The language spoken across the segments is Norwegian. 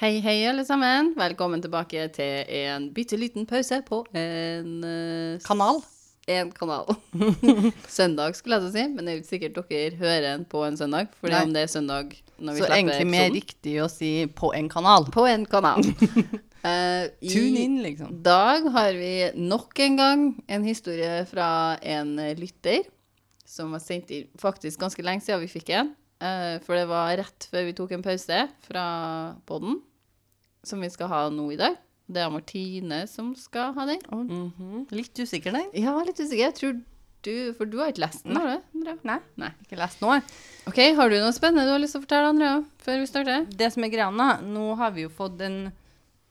Hei, hei, alle sammen. Velkommen tilbake til en bitte liten pause på en eh, s- Kanal. En kanal. søndag, skulle jeg til å si, men det er jo ikke sikkert dere hører den på en søndag. Fordi Nei. om det er søndag når vi Så slipper egentlig mer episoden. riktig å si på en kanal. På en kanal. Eh, i Tune in, liksom. dag har vi nok en gang en historie fra en lytter som var sendt inn faktisk ganske lenge siden vi fikk en. eh, for det var rett før vi tok en pause fra podden, som vi skal ha nå i dag. Det er Martine som skal ha den. Mhm. Litt usikker, nei. Ja, jeg var litt usikker. Jeg tror du, For du har ikke lest den, har du? Andrea? Nei. Nei. Ikke lest noe. OK, har du noe spennende du har lyst til å fortelle, Andrea, før vi starter? Det som er greia nå, nå har vi jo fått en,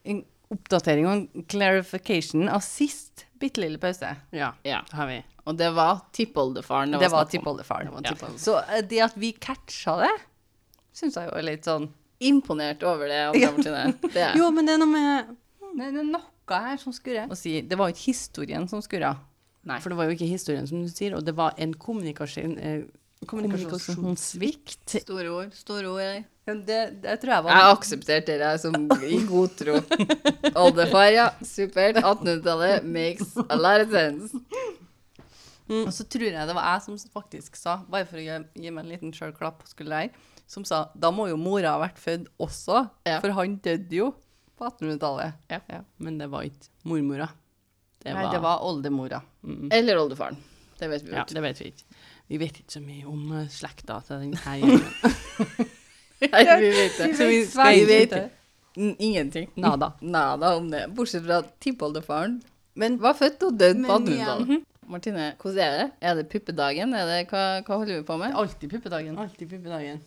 en oppdatering og en clarification av sist bitte lille pause. Ja, Ja. det har vi. Og det var tippoldefaren Det var snakk om. tippoldefaren. Det var Ja. tippoldefaren. Så eh, det at vi catcha det, syns jeg jo er litt sånn Imponert over det, Andrea Ja. Martine. Det er. Jo, men det er noe med Nei, det er noe her som skurrer. Å si, det var jo ikke historien som skurra. Nei. For det var jo ikke historien, som du sier, og det var en kommunikasjon, eh, kommunikasjonssvikt. Store ord. Store ord, jeg. Det, det tror jeg var Jeg aksepterte det som i god tro. Oldefar, ja. Supert. 1800-tallet makes a lot of sense. Mm. Og så tror jeg det var jeg som faktisk sa, bare for å gi, gi meg en liten sjølklapp, skulle jeg, som sa da må jo mora ha vært født også, Ja. for han døde jo på 1800-tallet. Ja. Men det var ikke mormora. Det Mm. Nei, det var oldemora. Eller oldefaren. Det vet vi jo Ja, ikke. det vet vi ikke. Vi vet ikke så mye om eh, slekta til den her gjengen. Nei, vi vet det. Så vi Svært skal vet lite. N- Ingenting. Nada. Nada om det. Bortsett fra at tippoldefaren Men var født og død på Men Mhm. igjen. 1800-tallet. Martine, hvordan er det? Er det puppedagen? Er det, hva, hva holder vi på med? alltid puppedagen. Alltid puppedagen.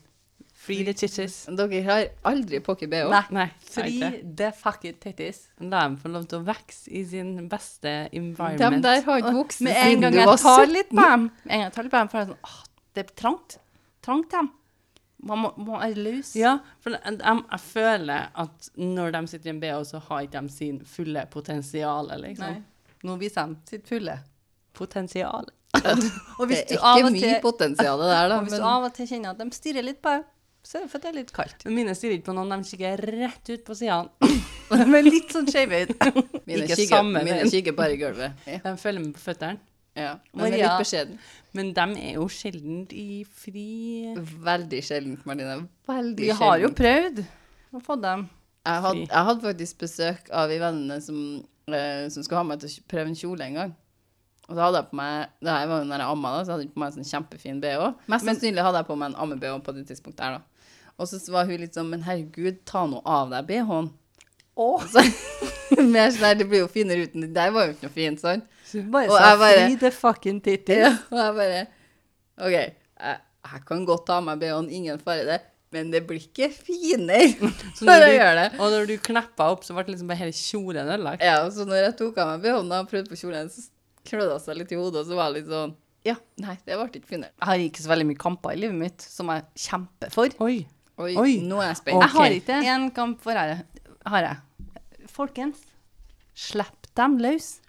Free the chitches. Dere har aldri pocket BH. Nei. Nei, Fri the fucking titties. La dem få lov til å vokse i sin beste De environment. der har ikke vokst Med en gang jeg tar litt på dem, med en gang jeg tar litt på dem, får jeg sånn, åh, det er trangt. Trangt dem. Man må, må er løs. Ja, for de, de- jeg føler at når de sitter i en BH, så har ikke de sin fulle potensial, liksom. Nei. Nå viser de sitt fulle. Potensial. Det Og hvis er du av ikke og mye til potensial det der, da. Og hvis du men- av og til kjenner at de stirrer litt på deg, så er det fordi det er litt kaldt. Men mine stirrer ikke på noen, de kikker rett ut på sidene. De er litt sånn skeive ut. Mine Ikke kikker, samme mine veien. kikker bare i gulvet. Ja. De følger med på føttene. Men jeg er Maria- litt beskjeden. Men de er jo sjelden i fri Veldig sjeldent, Martine. Veldig Vi har jo sjeldent. prøvd å få dem. Jeg hadde, jeg hadde faktisk besøk av en venninne som, eh, som skulle ha meg til å kj- prøve en kjole en gang. Og da hadde jeg på meg Det her var jo når jeg amma, da, så hadde jeg på meg en sånn kjempefin bh. Mest sånn- sannsynlig hadde jeg på meg en amme-bh på det tidspunktet der, da. Og så var hun litt sånn Men herregud, ta nå av deg bh-en. Åh. Så, mer sånn her, det blir jo finere uten Det der var jo ikke noe fint, sant? Bare Og jeg bare- the fucking titties. Ja, og jeg bare OK, jeg, jeg kan godt ta av meg BH-en, ingen fare det, men det blir ikke finere Så når når jeg du- gjør det. Og når du kneppa opp, så ble det liksom bare hele kjolen ødelagt. Ja, og så når jeg tok av meg BH-en og prøvde på kjolen, så klødde jeg seg litt i hodet, og så var jeg litt sånn Ja, nei, det ble ikke finere. Jeg har ikke så veldig mye kamper i livet mitt som jeg kjemper for. Oi. Oi, Oi. nå er jeg Ok. spent. Jeg har ikke en kamp for ære. Har jeg. Folkens, slipp dem løs.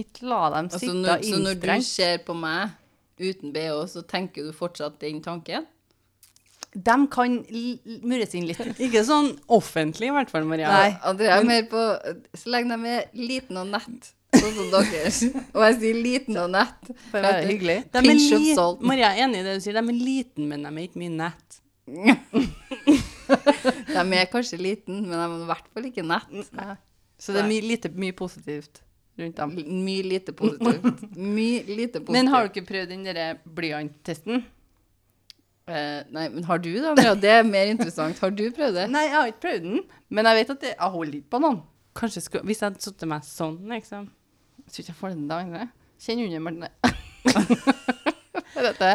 Ikke la dem Altså, sitte når, så når du innsprengt. ser på meg uten BH, så tenker du fortsatt den tanken? De kan l- l- murres inn litt. Ikke sånn offentlig, i hvert fall, Maria. Nei. Andrea er mer på Så lenge de er liten og nett, sånn som dere Og jeg sier liten og nett. For å være hyggelig. De er Pinch of li- salt. Maria er enig i det du sier, de er liten, men de er ikke mye nett. De er kanskje liten, men de er i hvert fall ikke nett. Så det er mye, lite, mye positivt rundt dem. L- Mye lite positivt. Mye lite positivt. Men har du ikke prøvd den der blyanttesten? Eh, nei, men har du det, Andrea? Det er mer interessant. Har du prøvd det? Nei, jeg har ikke prøvd den, men jeg vet at det, jeg holder ikke på noen. Kanskje skulle, Hvis jeg hadde satt meg sånn, liksom Jeg tror ikke jeg får den dagen. jeg. Kjenn under, Martine. Er dette?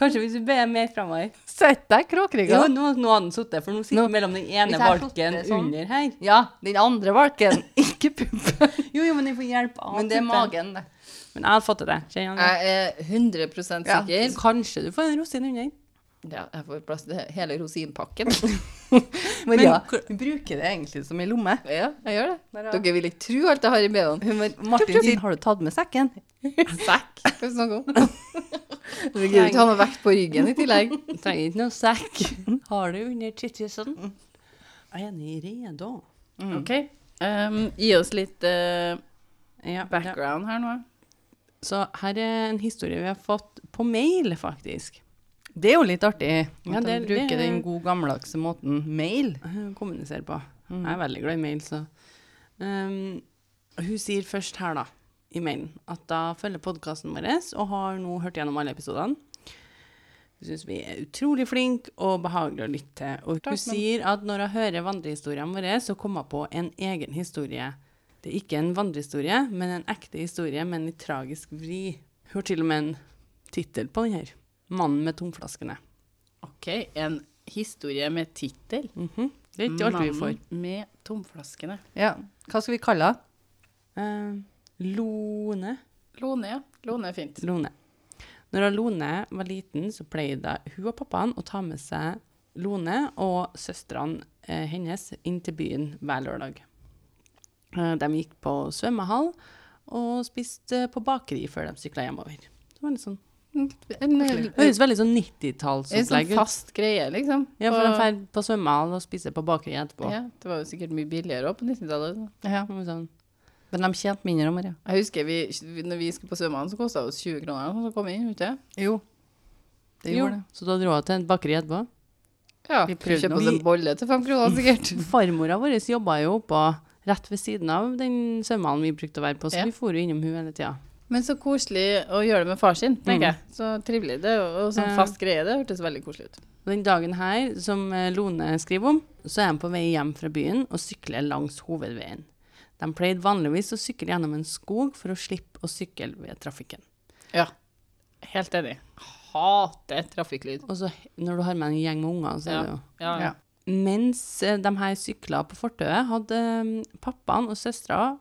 Kanskje hvis du ber mer framover. Sett deg kråkrygga. Jo, nå, nå har den sittet, for nå sitter den mellom den ene Hvis jeg hadde valken sittet sånn. under her. Ja, den andre valken. Ikke puppen. Jo, jo, men den får hjelp av Men det er puppen. magen, det. Men jeg hadde fått til det. Kjenner jeg Jeg er 100 Ja. sikker. det? Kanskje du får en rosin under. Ja, jeg får plass til hele rosinpakken. Maria, hun bruker det egentlig som ei lomme. ja, jeg gjør det. Der, ja. Dere vil ikke tro alt jeg har i BH-en. Hun, var- Martin sier, har du tatt med sekken? Sekk. Hva er det snakk om? Herregud, ikke ha noe vekt på ryggen i tillegg. Trenger ikke noe sekk. Har du under tittisene? Er ni redo? Mm. OK. Um, gi oss litt eh, Ja, ja. background her nå. Så her er en historie vi har fått på mail, faktisk. Det er jo litt artig at Ja, de det- bruker det- den gode gammeldagse Mm, måten mail. Eh, Kommunisere på. Mm. Jeg er veldig glad i mail, så um, Hun sier først her, da, i mailen, at da følger podkasten vår og har nå hørt gjennom alle episodene. Hun syns vi er utrolig flinke og behagelige å lytte til. Og hun Takk, men- sier at når hun hører vandrehistoriene våre, så kommer hun på en egen historie. Det er ikke en vandrehistorie, men en ekte historie med en litt tragisk vri. Hun har til og med en tittel på den her. 'Mannen med tomflaskene'. OK, en historie med tittel. Mhm. Det er ikke alt vi får. Mannen med tomflaskene. Ja. Hva skal vi kalle det? Eh, Lone Lone, ja. Lone er fint. Lone. Når hun Lone var liten, så pleide hun og pappaen å ta med seg Lone og søstrene eh, hennes inn til byen hver lørdag. Eh, de gikk på svømmehall og spiste på bakeri før de sykla hjemover. Det var litt sånn, En, det høres veldig sånn en sånn 90-tallsopplegg ut. fast greie, liksom. Ja, for de Og- drar på svømmehall og spiser på bakeri etterpå. Ja, det var jo sikkert mye billigere også på 90-tallet. Ja. Det var Sånn, Men de tjente mindre, Maria. Jeg husker vi, vi- når vi skulle på svømmehallen, så kosta det oss 20 kroner å komme inn. Ute. Jo. Det jo, gjorde det. så da dro hun til et bakeri etterpå. Ja, Vi vi prøvde kjøpte nå. oss en bolle til 5 kroner, sikkert. Mhm. Farmora vår jobba jo oppå rett ved siden av den svømmehallen vi brukte å være på, så Ja. vi for jo innom hun hele tida. Men så koselig å gjøre det med far sin, Mm. tenker jeg. Så trivelig. Det er jo- og sånn Ja. fast greie. Det hørtes veldig koselig ut. Og Den dagen her, som eh, Lone skriver om, så er han på vei hjem fra byen og sykler langs hovedveien. De pleide vanligvis å sykle gjennom en skog for å slippe å sykle ved trafikken. Ja. Helt enig. Hater trafikklyd. Og så he- når du har med en gjeng med unger, så er det jo Ja, ja. Ja. Mens eh, de her sykla på fortauet, hadde eh, pappaen og søstera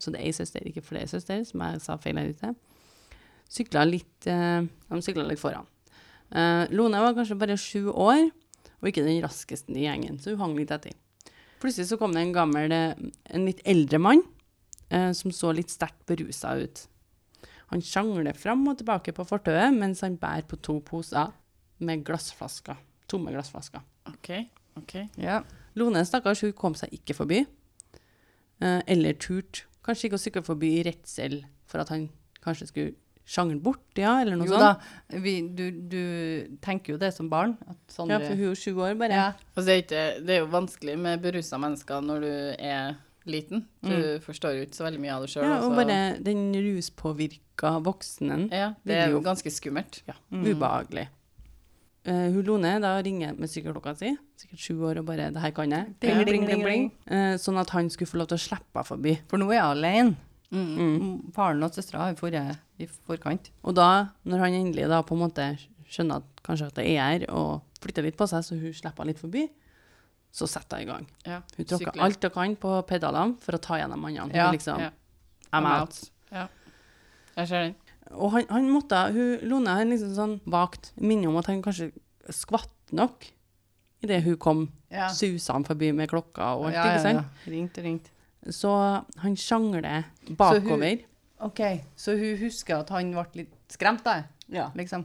Så det er ei søster, ikke flere søster, som jeg sa feil her ute. Sykla litt eh, De sykla litt foran. Eh, Lone var kanskje bare sju år, og ikke den raskeste i gjengen, så hun hang litt etter. Plutselig så kom det en gammel, eh, en litt eldre mann, eh, som så litt sterkt berusa ut. Han sjangler fram og tilbake på fortauet mens han bærer på to poser med glassflasker. Tomme glassflasker. OK. ok. Ja. Lone, stakkars, hun kom seg ikke forbi. Eh, eller turt. Kanskje ikke å sykle forbi i redsel for at han kanskje skulle sjangle bort, ja, eller noe Jo da, sånt. vi, du, du tenker jo det som barn. At sånne, Ja, for hun er jo sju år bare. Ja. Og så er Altså, det ikke, det er jo vanskelig med berusa mennesker når du er liten. Du forstår jo ikke så veldig mye av det altså. sjøl. Mm. Ja, og bare den ruspåvirka voksnen. ja, blir det er jo jo- ganske skummelt. Ja, Mm. ubehagelig. Eh, hun Lone da ringer med sykkelklokka si, sikkert sju år og bare 'det her kan jeg', Ding, Ja. ding, ding, ding. Eh, sånn at han skulle få lov til å slippe henne forbi. For nå er jeg alene. Mm. Mm, Faren og søstera har jo vært i forkant. Og da, når han endelig da på en måte skjønner at kanskje at det er her, og flytter litt på seg, så hun slipper han litt forbi, så setter hun i gang. Ja, Hun tråkker sykler. alt hun kan på pedalene for å ta gjennom mannene. Ja, Hun liksom, ja. I'm I'm out. Jeg ser den. Og han, han måtte, hun, Lone han liksom sånn vagt minner om at han kanskje skvatt nok idet hun kom Ja. susende forbi med klokka og alt, ja, ikke sant? Ringt og ringt. Så han sjangler hun- bakover. OK, så hun husker at han ble litt skremt, da? ja. Liksom.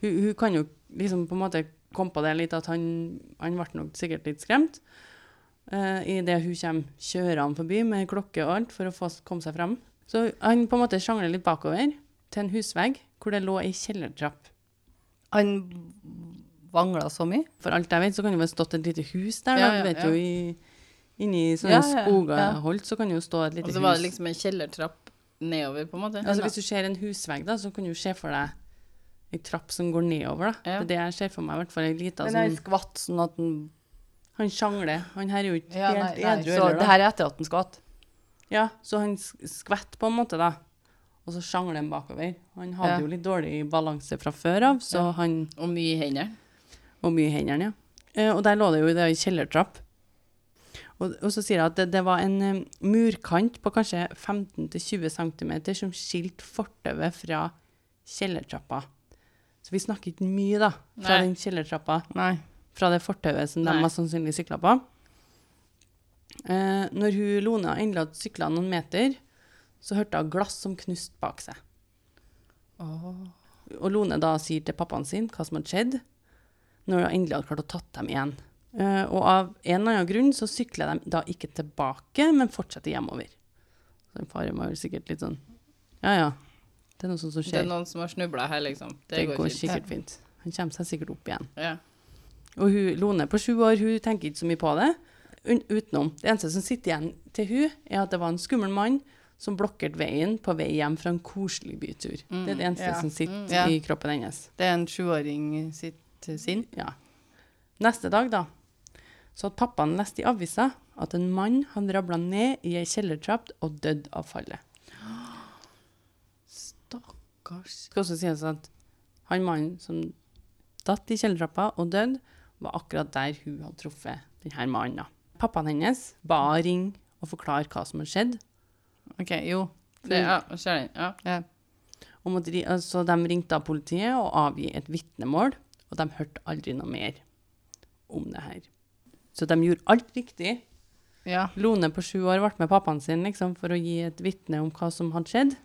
hun, hun kan jo liksom på en måte komme på det litt at han, han ble nok sikkert litt skremt. Uh, Idet hun kommer kjørende forbi med klokke og alt for å få, komme seg fram. Så han på en måte sjangler litt bakover til en husvegg hvor det lå ei kjellertrapp. Han vangla så mye. For alt jeg vet, så kan det jo ha stått et lite hus der. Ja, da. ja, du vet ja. jo i, Inni sånne Ja, ja, ja. skogaholt så kan det jo stå et lite Og hus. så var det liksom en kjellertrapp nedover, på en måte. altså, hvis du ser en husvegg, da, så kan du jo se for deg ei trapp som går nedover. da. Ja. Det er det jeg ser for meg. i hvert fall en liten Men sånn... han skvatt sånn at han Han sjangler. Han her er jo ikke helt edru Så heller, det da. her er etter at han skvatt. Ja, så han s- skvetter på en måte, da. Og så sjangler han bakover. Han hadde Ja. jo litt dårlig balanse fra før av, så han Og mye i hendene. Og mye i hendene, ja. Eh, Og der lå det jo det er en kjellertrapp. Og, og så sier jeg at det, det var en eh, murkant på kanskje 15-20 cm som skilte fortauet fra kjellertrappa. Så vi snakker ikke mye, da, fra Nei. den kjellertrappa Nei. fra det fortauet som Nei. de var sannsynlig sykla på. Eh, når hun Lona endelig hadde sykla noen meter, så hørte hun glass som knust bak seg. Og Lone da sier til pappaen sin hva som hadde skjedd, når hun endelig hadde klart å tatt dem igjen. Eh, og av en eller annen grunn så sykler de da ikke tilbake, men fortsetter hjemover. Så den faren var vel sikkert litt sånn Ja, ja. Det er noe sånt som Det skjer. er Det, noen som har snubla her, liksom. Det, går, går fint. sikkert fint. Han kommer seg sikkert opp igjen. Ja. Og hun, Lone på sju år hun tenker ikke så mye på det un utenom. Det eneste som sitter igjen til hun, er at det var en skummel mann som blokkerte veien på vei hjem fra en koselig bytur. det er det eneste ja. som sitter Mm, ja. i kroppen hennes. Det er en sjuåring sitt sinn. Ja. Neste dag, da, så hadde pappaen lest i avisa at en mann hadde rabla ned i ei kjellertrapp og dødd av fallet. Stakkars. Det skal også sies at han mannen som datt i kjellertrappa og døde, var akkurat der hun hadde truffet denne mannen. da. Pappaen hennes ba henne ringe og forklare hva som hadde skjedd. OK, jo. Det, ja, jeg ser den. Ja. Ja. Og måtte ri- altså, de ringte da politiet og avgi et vitnemål, og de hørte aldri noe mer om det her. Så de gjorde alt riktig Ja. Lone på sju år ble med pappaen sin liksom, for å gi et vitne om hva som hadde skjedd.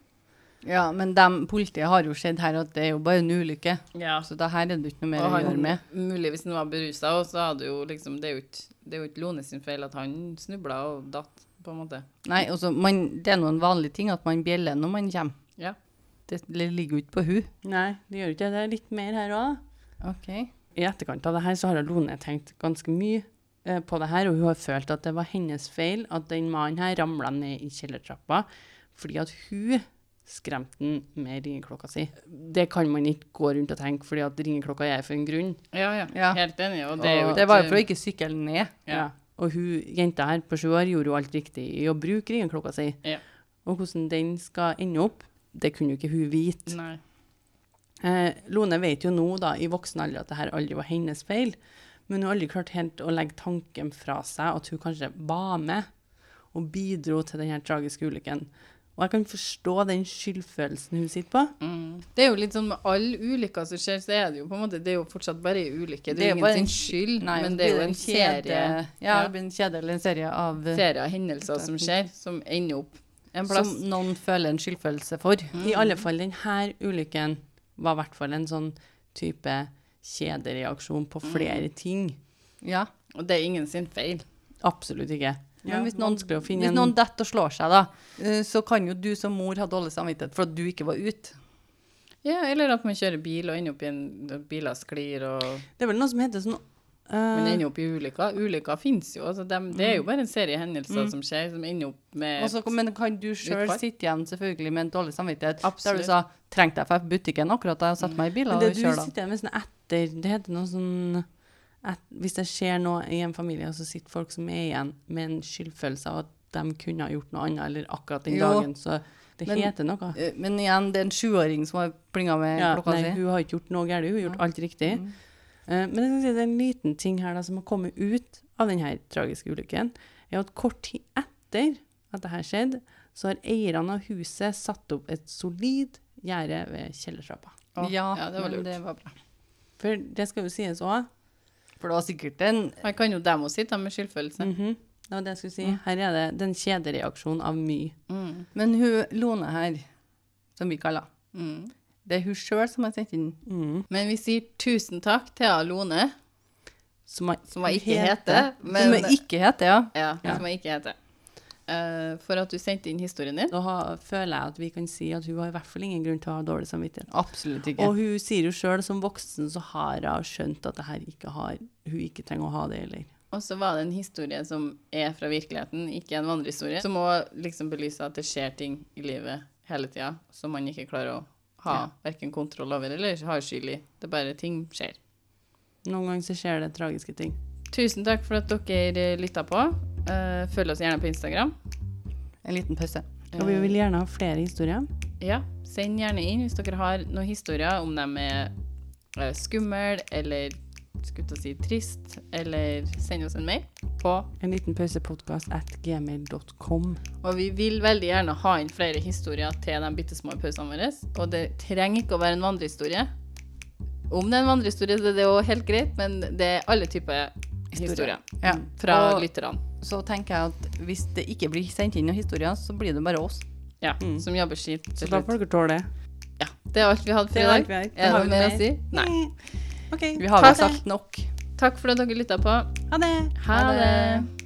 ja, men dem, politiet har jo sett her at det er jo bare en ulykke. ja. Så det her er det ikke noe mer Og å han, gjøre med. Mulig hvis han var berusa, og så hadde jo liksom Det er jo ikke, det er jo ikke Lone sin feil at han snubla og datt, på en måte. Nei, altså, man, det er noen vanlige ting at man bjeller når man kommer. Ja. Det ligger jo ikke på hun. Nei, det gjør ikke det. Det er litt mer her òg. OK. I etterkant av det her så har Lone tenkt ganske mye eh, på det her, og hun har følt at det var hennes feil at den mannen her ramla ned i kjellertrappa fordi at hun skremte den med ringeklokka si. Det kan man ikke gå rundt og tenke, fordi at ringeklokka er for en grunn. Ja, ja. Ja. Helt enig. Og det Det, er jo det var jo ikke- for å ikke sykle ned. Ja. Ja. Og hun, jenta her på sju år gjorde jo alt riktig i å bruke ringeklokka si. Ja. Og hvordan den skal ende opp, det kunne jo ikke hun vite. Nei. Eh, Lone vet jo nå da, i voksen alder at det her aldri var hennes feil, men hun har aldri klart helt å legge tanken fra seg at hun kanskje var med og bidro til denne tragiske ulykken. Og jeg kan forstå den skyldfølelsen hun sitter på. Det er jo litt sånn med alle ulykker som skjer, så er det jo på en måte Det er jo fortsatt bare en ulykke. Det er Det er jo bare ingen sin en- skyld, Nei, men så det er blir jo en serie, Ja, Ja. det blir en kjede eller en serie av eh, serie av hendelser som skjer, som ender opp en plass. som noen føler en skyldfølelse for. I alle fall denne ulykken var i hvert fall en sånn type kjedereaksjon på flere Mm. ting. Ja. Og det er ingen sin feil. Absolutt ikke. Men hvis noen, vanskelig å finne hvis en- noen detter og slår seg, da, eh, så kan jo du som mor ha dårlig samvittighet for at du ikke var ute. Ja, eller at man kjører bil og ender opp i en Biler sklir og Det er vel noe som heter sånn Man eh, ender opp i ulykker. Ulykker fins jo. Altså dem- det er jo bare en serie hendelser som skjer, som ender opp med Mm. Og så- men kan du sjøl utfall. sitte igjen selvfølgelig med en dårlig samvittighet? Der du Absolutt. sa 'trengte jeg for butikken akkurat da jeg satte meg i bilen Men og det du kjørte'? sitter igjen med sånn etter Det heter noe sånn et, Hvis det skjer noe i en familie, og så sitter folk som er igjen med en skyldfølelse av at de kunne ha gjort noe annet, eller akkurat den Jo, dagen, så det men- heter noe. Mm. Eh, Men igjen, det er en sjuåring som har plinga med Ja, eh, klokka Mm. nei, si. hun har ikke gjort noe galt, hun har gjort alt riktig. Eh, Men jeg skal si, det er en liten ting her da, som har kommet ut av denne tragiske ulykken, er at kort tid etter at dette skjedde, så har eierne av huset satt opp et solid gjerde ved kjellertrappa. Ja, Ja, det var men lurt. det var bra. For det skal jo sies òg, For det var sikkert en Man kan jo dem også sitte med skyldfølelse. Mm. Mhm. Det var det jeg skulle si. Her er det den kjedereaksjonen av mye. Mm. Men hun Lone her, som vi kaller Det er hun sjøl som har sendt inn. Mm. Mhm. Men vi sier tusen takk til Alone, Som jeg, som jeg ikke heter. Men, som hun ikke heter, ja. ja, Ja. Som jeg ikke heter. Eh, for at du sendte inn historien din. Da har, føler jeg at vi kan si at hun har i hvert fall ingen grunn til å ha dårlig samvittighet. Absolutt ikke. Og hun sier jo sjøl, som voksen så har hun skjønt at det her ikke har, hun ikke trenger å ha det heller. Og så var det en historie som er fra virkeligheten, ikke en vandrehistorie. Som må liksom belyse at det skjer ting i livet hele tida som man ikke klarer å ha hverken kontroll over eller har skyld i. Det er bare ting skjer. Noen ganger så skjer det tragiske ting. Tusen takk for at dere lytta på. Eh, følg oss gjerne på Instagram. en liten pause. Og vi vil gjerne ha flere historier. Ja, send gjerne inn hvis dere har noen historier om dem er eh, skummel eller skulle til å si trist, eller send oss en mail på. En liten pausepodkast at gmail.com. Og vi vil veldig gjerne ha inn flere historier til de bitte små pausene våre. Og det trenger ikke å være en vandrehistorie. Om det er en vandrehistorie, så er det jo helt greit, men det er alle typer historier Ja. Mm. fra og lytterne. så tenker jeg at hvis det ikke blir sendt inn noen historier, så blir det bare oss. Ja, som jobber skitt til Mm. Så da slutt. får dere tåle det. Ja, det er alt vi hadde for Det i er dag. alt vi har. Er det Har noe vi mer mer? å si? Nei. OK. Vi har Takk. vel sagt nok. Takk for at dere lytta på. Ha det! Ha det.